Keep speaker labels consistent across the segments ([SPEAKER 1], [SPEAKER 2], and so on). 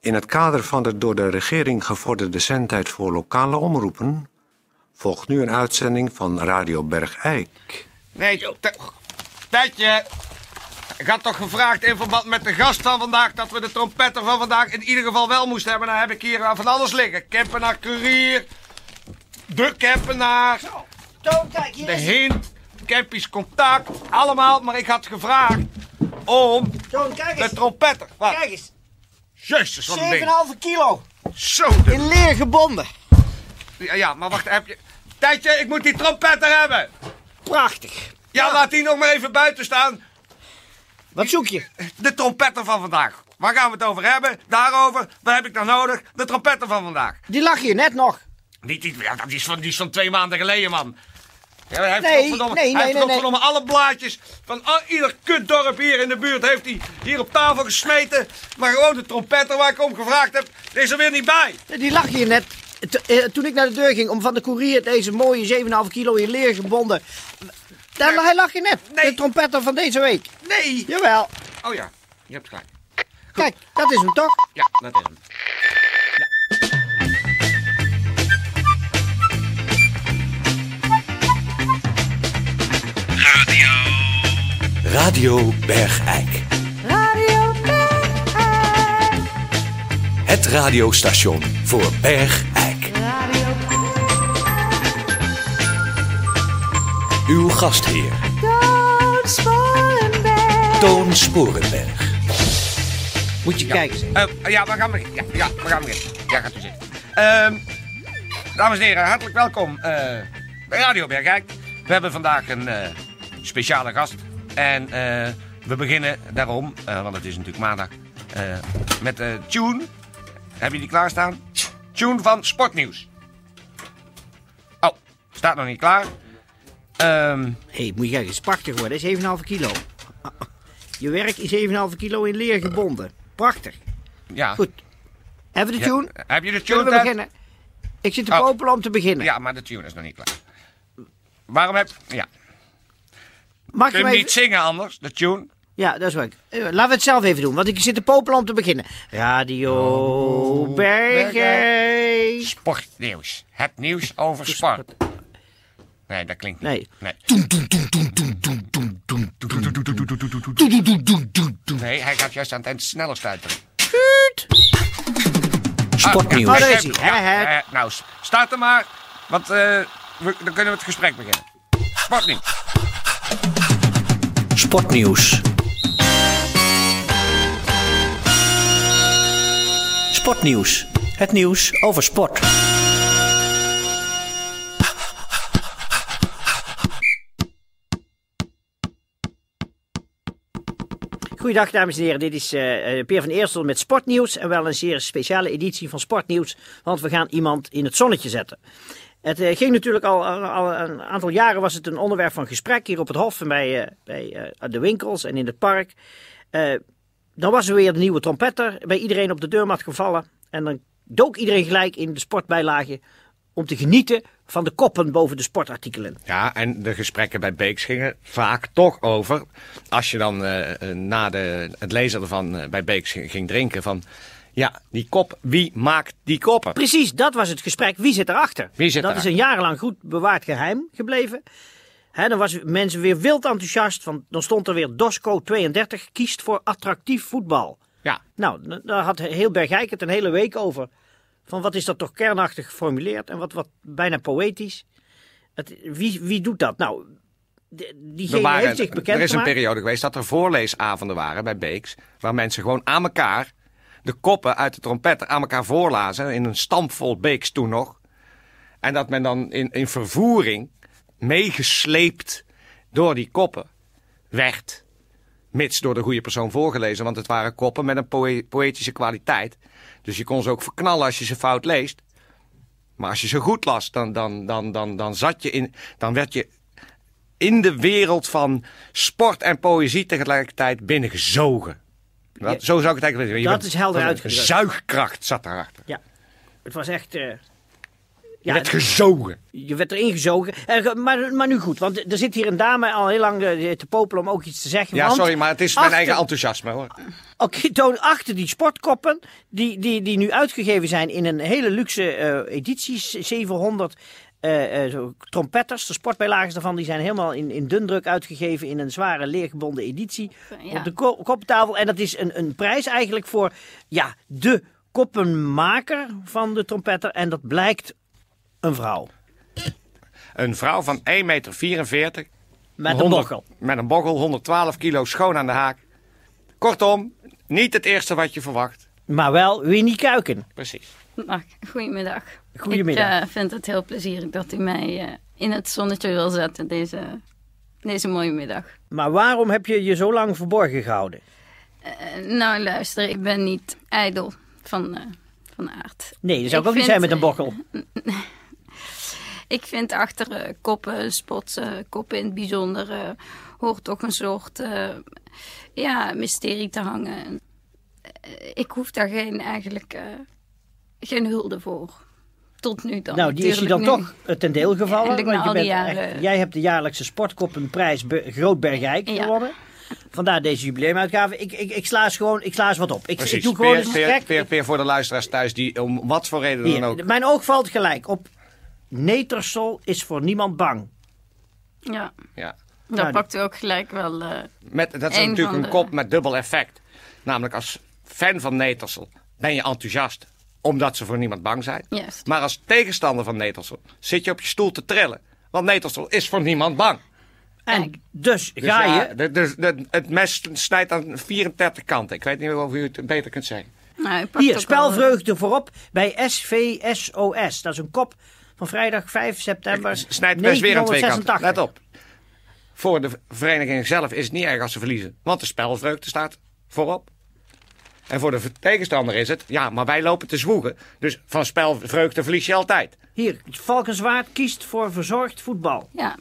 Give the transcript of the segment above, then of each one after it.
[SPEAKER 1] In het kader van de door de regering gevorderde zendtijd voor lokale omroepen volgt nu een uitzending van Radio Bergijk.
[SPEAKER 2] Nee, Te- Tetje. Ik had toch gevraagd in verband met de gast van vandaag... dat we de trompetten van vandaag in ieder geval wel moesten hebben. Nou heb ik hier aan van alles liggen. Kempenaar Courier. De Kempenaar.
[SPEAKER 3] Toon, kijk, hier
[SPEAKER 2] De
[SPEAKER 3] is...
[SPEAKER 2] Hint. Kempies Contact. Allemaal, maar ik had gevraagd om
[SPEAKER 3] Toon, kijk
[SPEAKER 2] de
[SPEAKER 3] eens.
[SPEAKER 2] trompetter. Wat?
[SPEAKER 3] Kijk eens.
[SPEAKER 2] Jezus, wat een ding.
[SPEAKER 3] 7,5 kilo.
[SPEAKER 2] Zo de...
[SPEAKER 3] In leer gebonden.
[SPEAKER 2] Ja, ja, maar wacht, heb je... Tetje, ik moet die trompetter hebben.
[SPEAKER 3] Prachtig.
[SPEAKER 2] Ja, laat die nog maar even buiten staan.
[SPEAKER 3] Wat zoek je?
[SPEAKER 2] De trompetter van vandaag. Waar gaan we het over hebben? Daarover. Waar heb ik dan nodig? De trompetter van vandaag.
[SPEAKER 3] Die lag hier net nog.
[SPEAKER 2] Niet, die, ja, dat is van, die is van twee maanden geleden, man. Ja, hij heeft
[SPEAKER 3] Nee,
[SPEAKER 2] godverdomme-
[SPEAKER 3] nee, nee,
[SPEAKER 2] hij heeft
[SPEAKER 3] nee, nee.
[SPEAKER 2] godverdomme alle blaadjes van al- ieder kutdorp hier in de buurt heeft hij hier op tafel gesmeten. Maar gewoon de trompetter waar ik om gevraagd heb, is er weer niet bij.
[SPEAKER 3] Die lag hier net. T- eh, Toen ik naar de deur ging om van de koerier deze mooie 7,5 kilo in leer gebonden. Daar, Hij lag hier net.
[SPEAKER 2] Nee.
[SPEAKER 3] De trompetter van deze week.
[SPEAKER 2] Nee.
[SPEAKER 3] Jawel.
[SPEAKER 2] Oh ja, je hebt gelijk.
[SPEAKER 3] Kijk, dat is hem toch?
[SPEAKER 2] Ja, dat is hem.
[SPEAKER 4] Radio Bergijk.
[SPEAKER 5] Radio Bergijk.
[SPEAKER 4] Het radiostation voor Bergijk.
[SPEAKER 5] Radio
[SPEAKER 4] Uw gastheer
[SPEAKER 5] Toon Sporenberg.
[SPEAKER 4] Toon Sporenberg.
[SPEAKER 3] Moet je kijken. zeg.
[SPEAKER 2] Eh, ja, we gaan beginnen. Ja, ja, we gaan beginnen. Ja, gaat u zitten. Ehm, dames en heren, hartelijk welkom eh, bij Radio Bergijk. We hebben vandaag een eh, speciale gast. En eh, we beginnen daarom, eh, want het is natuurlijk maandag, eh, met eh, Tune. Hebben jullie klaarstaan? Tune van Sportnieuws. Oh, staat nog niet klaar. Ehm,
[SPEAKER 3] Hé, moet je kijken. Het is prachtig hoor. Dat is 7,5 kilo. Je werk is 7,5 kilo in leer gebonden. Prachtig.
[SPEAKER 2] ja.
[SPEAKER 3] Goed. Hebben we de
[SPEAKER 2] Ja,
[SPEAKER 3] tune?
[SPEAKER 2] heb je de tune?
[SPEAKER 3] Zullen we
[SPEAKER 2] Ted?
[SPEAKER 3] beginnen? Ik zit te
[SPEAKER 2] Oh.
[SPEAKER 3] popelen om te beginnen.
[SPEAKER 2] Ja, maar de tune is nog niet klaar. Waarom heb... Ja. Kun je
[SPEAKER 3] Mag je
[SPEAKER 2] hem
[SPEAKER 3] mij...
[SPEAKER 2] niet zingen anders, de tune?
[SPEAKER 3] Ja, dat is waar. Eh, Laten we het zelf even doen, want ik zit te popelen om te beginnen. Radio Bergen.
[SPEAKER 2] Sportnieuws. Het nieuws over sport. Nee, dat klinkt niet.
[SPEAKER 3] Nee.
[SPEAKER 2] Nee. Nee, hij gaat juist aan het eind sneller stuiteren.
[SPEAKER 4] Sportnieuws.
[SPEAKER 3] Oh, daar is hij.
[SPEAKER 2] Ja,
[SPEAKER 3] Hè, hè.
[SPEAKER 2] eh, nou, s- staat er maar, want eh, we, dan kunnen we het gesprek beginnen. Sportnieuws.
[SPEAKER 4] Sportnieuws. Sportnieuws. Het nieuws over sport.
[SPEAKER 3] Goeiedag, dames en heren. Dit is eh, eh, Peer van Eerstel met Sportnieuws. En wel een zeer speciale editie van Sportnieuws, want we gaan iemand in het zonnetje zetten. Het eh, ging natuurlijk al, al, al een aantal jaren was het een onderwerp van gesprek hier op het Hof en bij, eh, bij eh, de winkels en in het park. Eh, dan was er weer de nieuwe trompetter bij iedereen op de deurmat gevallen. En dan dook iedereen gelijk in de sportbijlage om te genieten van de koppen boven de sportartikelen.
[SPEAKER 2] Ja, en de gesprekken bij Beeks gingen vaak toch over. Als je dan eh, eh, na de, het lezen ervan eh, bij Beeks ging ging drinken van... Ja, die kop, wie maakt die koppen?
[SPEAKER 3] Precies, dat was het gesprek. Wie zit erachter?
[SPEAKER 2] Wie zit
[SPEAKER 3] dat
[SPEAKER 2] erachter?
[SPEAKER 3] is een jarenlang goed bewaard geheim gebleven. Hè, dan was mensen weer wild enthousiast. Want dan stond er weer Dosco 32 kiest voor attractief voetbal.
[SPEAKER 2] Ja,
[SPEAKER 3] Nou, n- daar had heel Bergijk het een hele week over. Van wat is dat toch kernachtig geformuleerd en wat, wat bijna poëtisch. Het, wie, wie doet dat? Nou, d- diegene
[SPEAKER 2] Er, waren-
[SPEAKER 3] heeft zich bekend
[SPEAKER 2] er is een periode geweest dat er voorleesavonden waren bij Beeks. Waar mensen gewoon aan elkaar de koppen uit de trompetter aan elkaar voorlazen. In een stampvol Beeks toen nog. En dat men dan in, in vervoering meegesleept door die koppen werd. Mits door de goede persoon voorgelezen. Want het waren koppen met een poë- poëtische kwaliteit. Dus je kon ze ook verknallen als je ze fout leest. Maar als je ze goed las, dan, dan, dan, dan, dan zat je in. Dan werd je in de wereld van sport en poëzie tegelijkertijd binnengezogen. Dat,
[SPEAKER 3] Ja,
[SPEAKER 2] zo zou ik het eigenlijk willen zeggen. Je
[SPEAKER 3] dat
[SPEAKER 2] bent-
[SPEAKER 3] is helder
[SPEAKER 2] een
[SPEAKER 3] uitgedrukt.
[SPEAKER 2] Zuigkracht zat daarachter.
[SPEAKER 3] Ja, het was echt eh,
[SPEAKER 2] Je
[SPEAKER 3] Ja,
[SPEAKER 2] werd gezogen.
[SPEAKER 3] Je werd erin gezogen. Eh, ge- maar, maar nu goed, want er zit hier een dame al heel lang eh, te popelen om ook iets te zeggen.
[SPEAKER 2] Ja,
[SPEAKER 3] want
[SPEAKER 2] sorry, maar het is mijn
[SPEAKER 3] achter-
[SPEAKER 2] eigen enthousiasme hoor.
[SPEAKER 3] Oké, Toon, achter die sportkoppen, die, die, die nu uitgegeven zijn in een hele luxe eh editie, z- 700 eh, eh, zo trompetters. De sportbijlagen daarvan die zijn helemaal in, in dundruk uitgegeven in een zware leergebonden editie
[SPEAKER 6] Ja.
[SPEAKER 3] op de ko- koppentafel. En dat is een, een prijs eigenlijk voor ja, de koppenmaker van de trompetter. En dat blijkt een vrouw
[SPEAKER 2] Een vrouw van 1,44 meter,
[SPEAKER 3] met een
[SPEAKER 2] 100
[SPEAKER 3] bokkel.
[SPEAKER 2] met een bochel, 112 kilo schoon aan de haak. Kortom, niet het eerste wat je verwacht.
[SPEAKER 3] Maar wel Winnie Kuiken.
[SPEAKER 2] Precies.
[SPEAKER 6] Mark, goedemiddag.
[SPEAKER 3] Goedemiddag.
[SPEAKER 6] Ik eh, vind het heel plezierig dat u mij eh, in het zonnetje wil zetten deze, deze mooie middag.
[SPEAKER 3] Maar waarom heb je je zo lang verborgen gehouden?
[SPEAKER 6] Eh, nou, luister, ik ben niet ijdel van, eh, van aard.
[SPEAKER 3] Nee, dat zou ik Oh, ook niet
[SPEAKER 6] vind-
[SPEAKER 3] zijn met een bokkel.
[SPEAKER 6] Ik vind achter eh, koppen, spotsen, koppen in het bijzonder, eh, hoort toch een soort eh, ja, mysterie te hangen. Eh, ik hoef daar geen, eigenlijk eh, geen hulde voor. Tot nu dan.
[SPEAKER 3] Nou, die is je dan
[SPEAKER 6] natuurlijk nu.
[SPEAKER 3] toch eh, ten deel gevallen.
[SPEAKER 6] Eigenlijk
[SPEAKER 3] want
[SPEAKER 6] na
[SPEAKER 3] je
[SPEAKER 6] al
[SPEAKER 3] bent
[SPEAKER 6] die jaren.
[SPEAKER 3] echt- jij hebt de jaarlijkse sportkoppenprijs Be- Groot Bergijk
[SPEAKER 6] Ja.
[SPEAKER 3] gewonnen. Vandaar deze jubileumuitgave. Ik, ik, ik sla eens gewoon ik sla eens wat op. Ik, ik
[SPEAKER 2] Precies.
[SPEAKER 3] doe gewoon
[SPEAKER 2] Peer,
[SPEAKER 3] eens een
[SPEAKER 2] peer,
[SPEAKER 3] gesprek.
[SPEAKER 2] peer, peer voor de luisteraars thuis die om wat voor reden
[SPEAKER 3] Hier,
[SPEAKER 2] dan ook.
[SPEAKER 3] Mijn oog valt gelijk op. Netersol is voor niemand bang.
[SPEAKER 6] Ja,
[SPEAKER 2] Ja.
[SPEAKER 6] dat
[SPEAKER 3] Nou,
[SPEAKER 6] pakt u ook gelijk wel. eh,
[SPEAKER 2] Met, dat is
[SPEAKER 6] Eén
[SPEAKER 2] natuurlijk
[SPEAKER 6] van
[SPEAKER 2] een
[SPEAKER 6] de-
[SPEAKER 2] kop met dubbel effect. Namelijk als fan van Netersel ben je enthousiast omdat ze voor niemand bang zijn.
[SPEAKER 6] Juist.
[SPEAKER 2] Maar als tegenstander van Netersel zit je op je stoel te trillen. Want Netersel is voor niemand bang.
[SPEAKER 3] En
[SPEAKER 6] Kijk.
[SPEAKER 3] dus,
[SPEAKER 2] Dus
[SPEAKER 3] ga
[SPEAKER 2] ja,
[SPEAKER 3] je.
[SPEAKER 2] de- de- de- het mes snijdt aan 34 kanten. Ik weet niet of u het beter kunt zeggen.
[SPEAKER 6] nou, u pakt ook
[SPEAKER 3] Hier,
[SPEAKER 6] wel-
[SPEAKER 3] spelvreugde voorop bij SVSOS. Dat is een kop van vrijdag 5 september.
[SPEAKER 2] Snijdt best weer aan twee kanten.
[SPEAKER 3] 1986.
[SPEAKER 2] Let op. Voor de vereniging zelf is het niet erg als ze verliezen. Want de spelvreugde staat voorop. En voor de ver- tegenstander is het... Ja, maar wij lopen te zwoegen. Dus van spelvreugde verlies je altijd.
[SPEAKER 3] Hier, Valkenswaard kiest voor verzorgd voetbal.
[SPEAKER 6] Ja,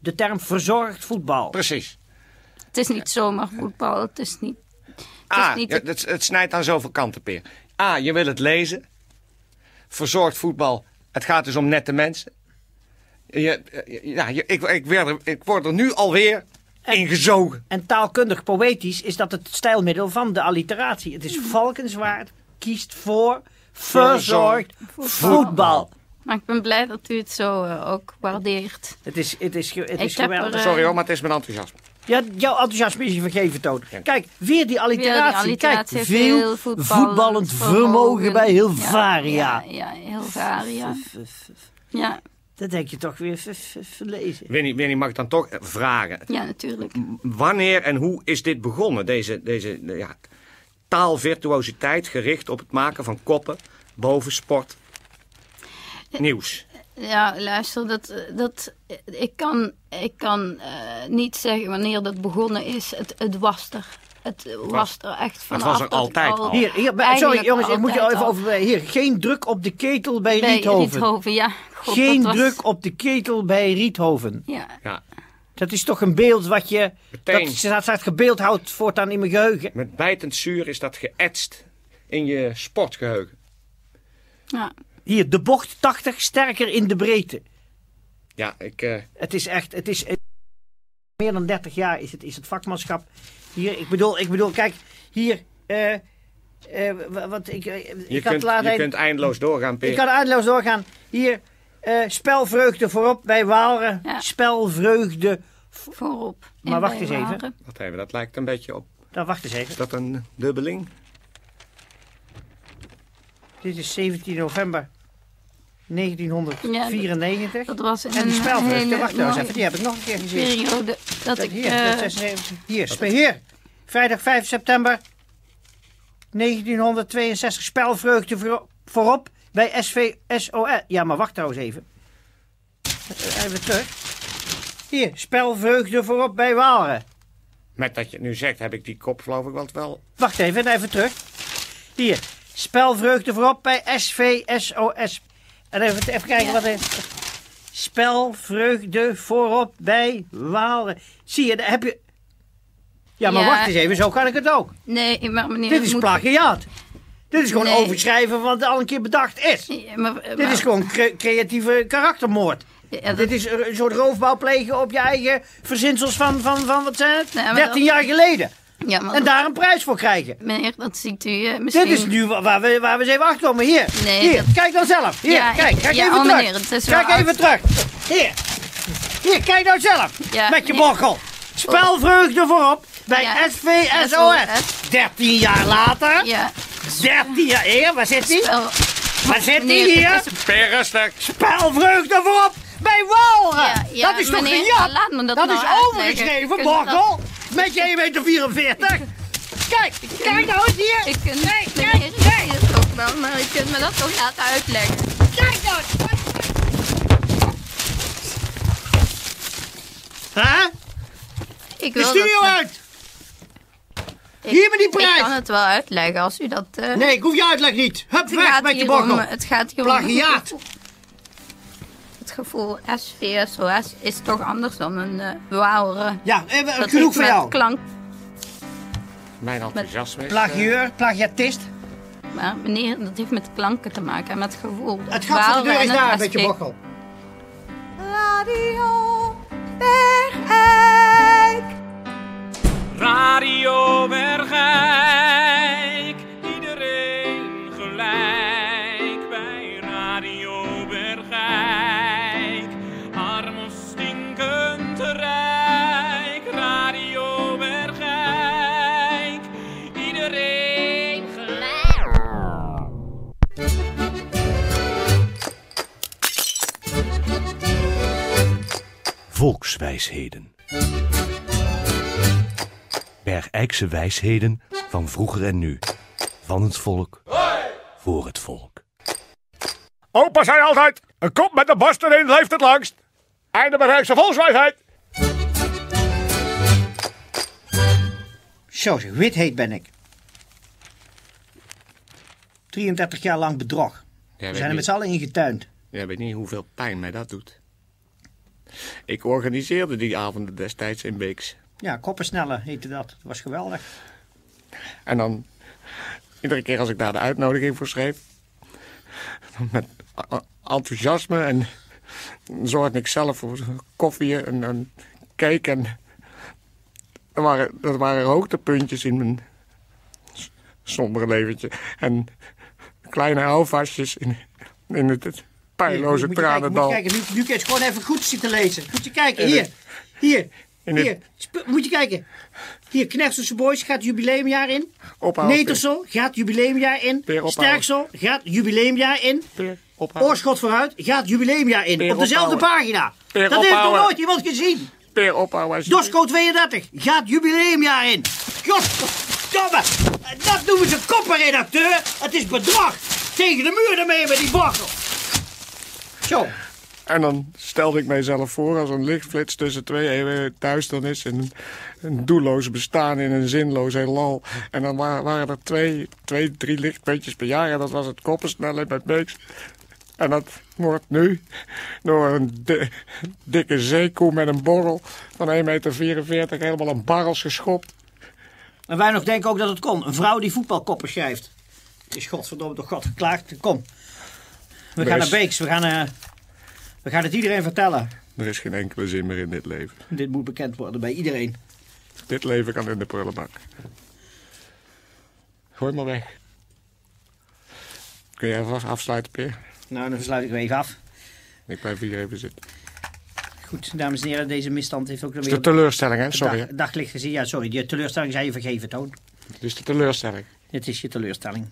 [SPEAKER 3] De term verzorgd voetbal.
[SPEAKER 2] Precies.
[SPEAKER 6] het is niet zomaar voetbal. Het is niet. Het
[SPEAKER 2] A,
[SPEAKER 6] is niet
[SPEAKER 2] Ah, ja, het, het snijdt aan zoveel kanten, Peer. A, je wil het lezen. Verzorgd voetbal. Het gaat dus om nette mensen. Je, eh, ja, je- ik, ik, werd er- ik word er nu alweer ingezogen.
[SPEAKER 3] En taalkundig poëtisch is dat het stijlmiddel van de alliteratie. Het
[SPEAKER 2] Hmm.
[SPEAKER 3] is valkenswaard, kiest voor, verzorgd, voetbal.
[SPEAKER 6] Maar ik ben blij dat u het zo eh, ook waardeert.
[SPEAKER 3] Het is, het is, ge- het
[SPEAKER 6] Ik
[SPEAKER 3] is
[SPEAKER 6] heb er,
[SPEAKER 3] geweldig.
[SPEAKER 6] eh,
[SPEAKER 2] Sorry hoor, maar het is mijn enthousiasme.
[SPEAKER 3] Ja, jouw enthousiasme is je vergeven, Toon. Kijk, weer die alliteratie.
[SPEAKER 6] alliteratie
[SPEAKER 3] Kijk,
[SPEAKER 6] heeft
[SPEAKER 3] veel
[SPEAKER 6] heel voetballend
[SPEAKER 3] voetballend
[SPEAKER 6] vermogen.
[SPEAKER 3] vermogen bij Hilvaria.
[SPEAKER 6] Ja, ja, heel Varia. Ja,
[SPEAKER 3] Dat denk je toch weer ver- ver- verlezen.
[SPEAKER 2] Winnie, Winnie mag ik dan toch eh, vragen.
[SPEAKER 6] ja, natuurlijk.
[SPEAKER 2] Wanneer en hoe is dit begonnen? Deze, deze ja, taalvirtuositeit gericht op het maken van koppen boven sport.
[SPEAKER 3] Eh,
[SPEAKER 2] Nieuws.
[SPEAKER 6] Ja, luister, dat, dat, ik kan, ik kan eh, niet zeggen wanneer dat begonnen is. Het, het was er. Het was er echt vanaf.
[SPEAKER 2] was er
[SPEAKER 6] dat ik
[SPEAKER 2] altijd al.
[SPEAKER 6] Oh.
[SPEAKER 3] Hier, hier, maar- sorry
[SPEAKER 6] Eigenlijk
[SPEAKER 3] jongens, ik moet je al
[SPEAKER 6] altijd
[SPEAKER 3] even over.
[SPEAKER 6] al.
[SPEAKER 3] Hier, geen druk op de ketel bij,
[SPEAKER 6] Bij
[SPEAKER 3] Riethoven.
[SPEAKER 6] Riethoven, ja. God,
[SPEAKER 3] Geen
[SPEAKER 6] dat was-
[SPEAKER 3] druk op de ketel bij Riethoven.
[SPEAKER 6] Ja,
[SPEAKER 2] Ja,
[SPEAKER 3] Dat is toch een beeld wat je.
[SPEAKER 2] Meteen.
[SPEAKER 3] Dat staat, staat gebeeldhouwd voortaan in mijn geheugen.
[SPEAKER 2] met bijtend zuur is dat geëtst in je sportgeheugen.
[SPEAKER 6] ja.
[SPEAKER 3] Hier, de bocht 80 sterker in de breedte.
[SPEAKER 2] Ja, ik, eh,
[SPEAKER 3] Het is echt. Het is, meer dan 30 jaar is het, is het vakmanschap. Hier, ik bedoel, ik bedoel kijk, hier. eh, eh, wa- wat ik. eh,
[SPEAKER 2] je,
[SPEAKER 3] ik had
[SPEAKER 2] kunt,
[SPEAKER 3] laat
[SPEAKER 2] je
[SPEAKER 3] een-
[SPEAKER 2] kunt eindeloos doorgaan, Peer.
[SPEAKER 3] Ik kan eindeloos doorgaan. Hier, eh, spelvreugde voorop bij Waalre.
[SPEAKER 6] Ja.
[SPEAKER 3] Spelvreugde.
[SPEAKER 6] voorop.
[SPEAKER 3] Maar
[SPEAKER 6] En
[SPEAKER 3] wacht
[SPEAKER 6] wij
[SPEAKER 3] eens even.
[SPEAKER 6] waren-
[SPEAKER 2] Wacht even, dat lijkt een beetje op.
[SPEAKER 3] Nou, wacht eens even.
[SPEAKER 2] Is dat een dubbeling?
[SPEAKER 3] Dit is 17 november 1994.
[SPEAKER 6] Dat was in
[SPEAKER 3] en die
[SPEAKER 6] een
[SPEAKER 3] spelvreugde,
[SPEAKER 6] hele
[SPEAKER 3] wacht nou eens
[SPEAKER 6] mooie
[SPEAKER 3] even, die heb ik nog een keer gezien.
[SPEAKER 6] periode dat ik...
[SPEAKER 3] Hier,
[SPEAKER 6] eh,
[SPEAKER 3] dat 76. hier, spe- hier. Vrijdag 5 september 1962. Spelvreugde voor- voorop bij SVSOS. Ja, maar wacht trouwens even. Even terug. Hier, spelvreugde voorop bij Waalre.
[SPEAKER 2] Met dat je het nu zegt, heb ik die kop geloof ik wel wel.
[SPEAKER 3] Wacht even, even terug. Hier, spelvreugde voorop bij SVSOS. En even, even kijken wat er... Spelvreugde voorop bij Waalre. Zie je, daar heb je... Ja, maar
[SPEAKER 6] Ja.
[SPEAKER 3] wacht eens even, zo kan ik het ook.
[SPEAKER 6] nee, maar meneer...
[SPEAKER 3] Dit
[SPEAKER 6] het
[SPEAKER 3] is
[SPEAKER 6] moet-
[SPEAKER 3] plagiaat. Dit is gewoon
[SPEAKER 6] Nee.
[SPEAKER 3] overschrijven van wat al een keer bedacht is.
[SPEAKER 6] Ja, maar, maar-
[SPEAKER 3] Dit is gewoon cre- creatieve karaktermoord.
[SPEAKER 6] Ja, dat-
[SPEAKER 3] Dit is een soort roofbouw plegen op je eigen verzinsels van, van, van wat zijn het?
[SPEAKER 6] Nee, maar
[SPEAKER 3] 13
[SPEAKER 6] dat-
[SPEAKER 3] jaar geleden.
[SPEAKER 6] Ja, maar
[SPEAKER 3] En daar een prijs voor krijgen.
[SPEAKER 6] meneer, dat ziet u eh, misschien...
[SPEAKER 3] Dit is nu wa- waar we, waar we eens even achterkomen. Hier,
[SPEAKER 6] Nee,
[SPEAKER 3] hier.
[SPEAKER 6] dat-
[SPEAKER 3] kijk nou zelf. Hier,
[SPEAKER 6] Ja,
[SPEAKER 3] kijk,
[SPEAKER 6] ik-
[SPEAKER 3] kijk
[SPEAKER 6] ja,
[SPEAKER 3] even
[SPEAKER 6] oh,
[SPEAKER 3] terug.
[SPEAKER 6] meneer, het is wel
[SPEAKER 3] kijk
[SPEAKER 6] oud.
[SPEAKER 3] even terug. Hier, hier, kijk nou zelf.
[SPEAKER 6] Ja,
[SPEAKER 3] Met je
[SPEAKER 6] nee.
[SPEAKER 3] borrel. Spelvreugde voorop bij
[SPEAKER 6] Ja,
[SPEAKER 3] SVSOS. 13 jaar later.
[SPEAKER 6] Ja,
[SPEAKER 3] 13 jaar eer, waar zit die?
[SPEAKER 6] wel...
[SPEAKER 3] Waar zit die
[SPEAKER 6] meneer,
[SPEAKER 3] hier?
[SPEAKER 6] het is-
[SPEAKER 2] Per rustig.
[SPEAKER 3] Spelvreugde voorop bij Walren.
[SPEAKER 6] Ja, ja,
[SPEAKER 3] dat is toch
[SPEAKER 6] meneer,
[SPEAKER 3] gejat?
[SPEAKER 6] laat me dat nou
[SPEAKER 3] is
[SPEAKER 6] uitleggen.
[SPEAKER 3] overgeschreven,
[SPEAKER 6] Kunt u dat-
[SPEAKER 3] borrel. Met je 1,44 meter. Kijk, kijk nou eens hier.
[SPEAKER 6] Ik kunt,
[SPEAKER 3] Hey,
[SPEAKER 6] meneer,
[SPEAKER 3] kijk,
[SPEAKER 6] ik
[SPEAKER 3] kijk.
[SPEAKER 6] zie het ook wel, maar ik kunt me dat toch laten uitleggen.
[SPEAKER 3] Kijk nou! Hè?
[SPEAKER 6] Ik
[SPEAKER 3] De
[SPEAKER 6] wil
[SPEAKER 3] studio
[SPEAKER 6] dat,
[SPEAKER 3] uit!
[SPEAKER 6] ik-
[SPEAKER 3] Hier met die
[SPEAKER 6] Ik
[SPEAKER 3] prijs.
[SPEAKER 6] kan het wel uitleggen als u dat... eh,
[SPEAKER 3] Nee, ik hoef je uitleg niet. Hup,
[SPEAKER 6] het
[SPEAKER 3] weg
[SPEAKER 6] gaat
[SPEAKER 3] met je
[SPEAKER 6] hier om,
[SPEAKER 3] borrel.
[SPEAKER 6] Het gaat hier om...
[SPEAKER 3] Plagiaat.
[SPEAKER 6] Het gevoel SVSOS is toch anders dan een eh wauwere.
[SPEAKER 3] Ja, eh,
[SPEAKER 6] Dat
[SPEAKER 3] genoeg
[SPEAKER 6] heeft
[SPEAKER 3] voor
[SPEAKER 6] met
[SPEAKER 3] jou.
[SPEAKER 6] klank.
[SPEAKER 2] Mijn enthousiasme is... eh,
[SPEAKER 3] Plagieur, plagiatist.
[SPEAKER 6] Maar meneer, eh, dat heeft met klanken te maken en met gevoel.
[SPEAKER 3] Het gaat voor de deur is daar met je
[SPEAKER 6] bokken.
[SPEAKER 3] borrel.
[SPEAKER 5] Radio Bergijk.
[SPEAKER 7] Radio Bergijk, iedereen gelijk bij Radio Bergijk. Arm of stinkend rijk, Radio Bergijk, iedereen gelijk.
[SPEAKER 8] Volkswijsheden. Bergijkse wijsheden van vroeger en nu. Van het volk, voor het volk.
[SPEAKER 2] Opa zei altijd, een kop met de borst erin leeft het langst. Einde bereikse volkswijsheid.
[SPEAKER 3] Zo, zo wit heet ben ik. 33 jaar lang bedrog. We zijn er met z'n allen ingetuind.
[SPEAKER 2] Jij weet niet hoeveel pijn mij dat doet. Ik organiseerde die avonden destijds in Beeks.
[SPEAKER 3] Ja, koppensneller heette dat. Dat was geweldig.
[SPEAKER 2] En dan, iedere keer als ik daar de uitnodiging voor schreef... dan met a- a- enthousiasme en zorgde ik zelf voor koffie en, en cake. En dat, waren, dat waren hoogtepuntjes in mijn s- sombere leventje. En kleine houvastjes in, in het, het
[SPEAKER 3] Hier,
[SPEAKER 2] pijloze
[SPEAKER 3] moet je kijken, moet je
[SPEAKER 2] tranendal.
[SPEAKER 3] kijken. Nu, nu kun je het gewoon even goed zitten lezen. Moet je kijken, hier. Hier.
[SPEAKER 2] En dit-
[SPEAKER 3] hier. Sp- Moet je kijken. Hier, Knefselse Boys gaat jubileumjaar in.
[SPEAKER 2] Ophouden.
[SPEAKER 3] Netersel gaat jubileumjaar in.
[SPEAKER 2] Weer ophouden.
[SPEAKER 3] Sterksel gaat jubileumjaar in.
[SPEAKER 2] Weer ophouden.
[SPEAKER 3] Oorschot vooruit gaat jubileumjaar in.
[SPEAKER 2] Weer
[SPEAKER 3] Op dezelfde
[SPEAKER 2] ophouden.
[SPEAKER 3] pagina.
[SPEAKER 2] Weer
[SPEAKER 3] dat heeft nog
[SPEAKER 2] ophouden.
[SPEAKER 3] nooit iemand gezien.
[SPEAKER 2] Weer ophouden alsjeblieft.
[SPEAKER 3] Dosco 32 gaat jubileumjaar in. Godverdomme. Dat noemen ze koppenredacteur. Het is bedrag. Tegen de muur ermee met die bakkel. Zo.
[SPEAKER 2] En dan stelde ik mijzelf voor als een lichtflits tussen twee eeuwen duisternis en een, een doelloos bestaan in een zinloos heelal. En dan wa- waren er twee, twee, drie lichtpuntjes per jaar en dat was het koppensnelheid bij Beeks. En dat wordt nu door een di- dikke zeekoe met een borrel van 1,44 meter helemaal aan barrels geschopt.
[SPEAKER 3] En wij nog denken ook dat het kon. Een vrouw die voetbalkoppen schrijft. Is godverdomme door God geklaagd. Kom. We gaan naar
[SPEAKER 2] Wees.
[SPEAKER 3] Beeks. We gaan, eh, we gaan het iedereen vertellen.
[SPEAKER 2] Er is geen enkele zin meer in dit leven.
[SPEAKER 3] Dit moet bekend worden bij iedereen.
[SPEAKER 2] Dit leven kan in de prullenbak. Gooi maar weg. Kun jij vast afsluiten, Peer?
[SPEAKER 3] Nou, dan sluit ik weer even af.
[SPEAKER 2] Ik blijf hier even zitten.
[SPEAKER 3] Goed, dames en heren. Deze misstand heeft ook weer...
[SPEAKER 2] Het is de teleurstelling, hè?
[SPEAKER 3] het
[SPEAKER 2] Sorry. hè?
[SPEAKER 3] dag, daglicht gezien. Ja, sorry. Die teleurstelling zijn je vergeven, Toon.
[SPEAKER 2] Het is de teleurstelling.
[SPEAKER 3] Dit is je teleurstelling.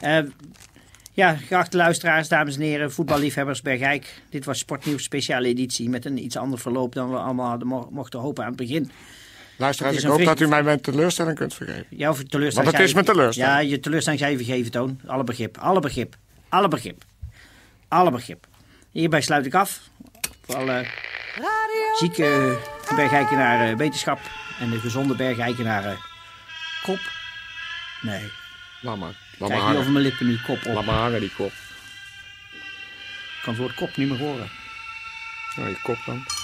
[SPEAKER 3] Eh, ja, geachte luisteraars, dames en heren, voetballiefhebbers, Bergijk. Dit was Sportnieuws speciale editie met een iets ander verloop dan we allemaal hadden mo- mochten hopen aan het begin.
[SPEAKER 2] Luisteraars,
[SPEAKER 3] Het is
[SPEAKER 2] ik hoop
[SPEAKER 3] een
[SPEAKER 2] dat u
[SPEAKER 3] vriend.
[SPEAKER 2] mij mijn teleurstelling kunt vergeven.
[SPEAKER 3] Jouw teleurstelling.
[SPEAKER 2] Want het
[SPEAKER 3] zijn-
[SPEAKER 2] is mijn teleurstelling.
[SPEAKER 3] Ja, je teleurstelling zijn je vergeven, Toon. Alle begrip, alle begrip, alle begrip. Alle begrip. Hierbij sluit ik af. Voor alle zieke bergijkenaren wetenschap en de gezonde bergijkenaren kop. Nee,
[SPEAKER 2] Laat maar. Laat maar
[SPEAKER 3] kijk niet over
[SPEAKER 2] hangen.
[SPEAKER 3] mijn lippen nu kop op.
[SPEAKER 2] Laat maar hangen, die kop.
[SPEAKER 3] Ik kan het woord kop niet meer horen.
[SPEAKER 2] Nou, je kop dan.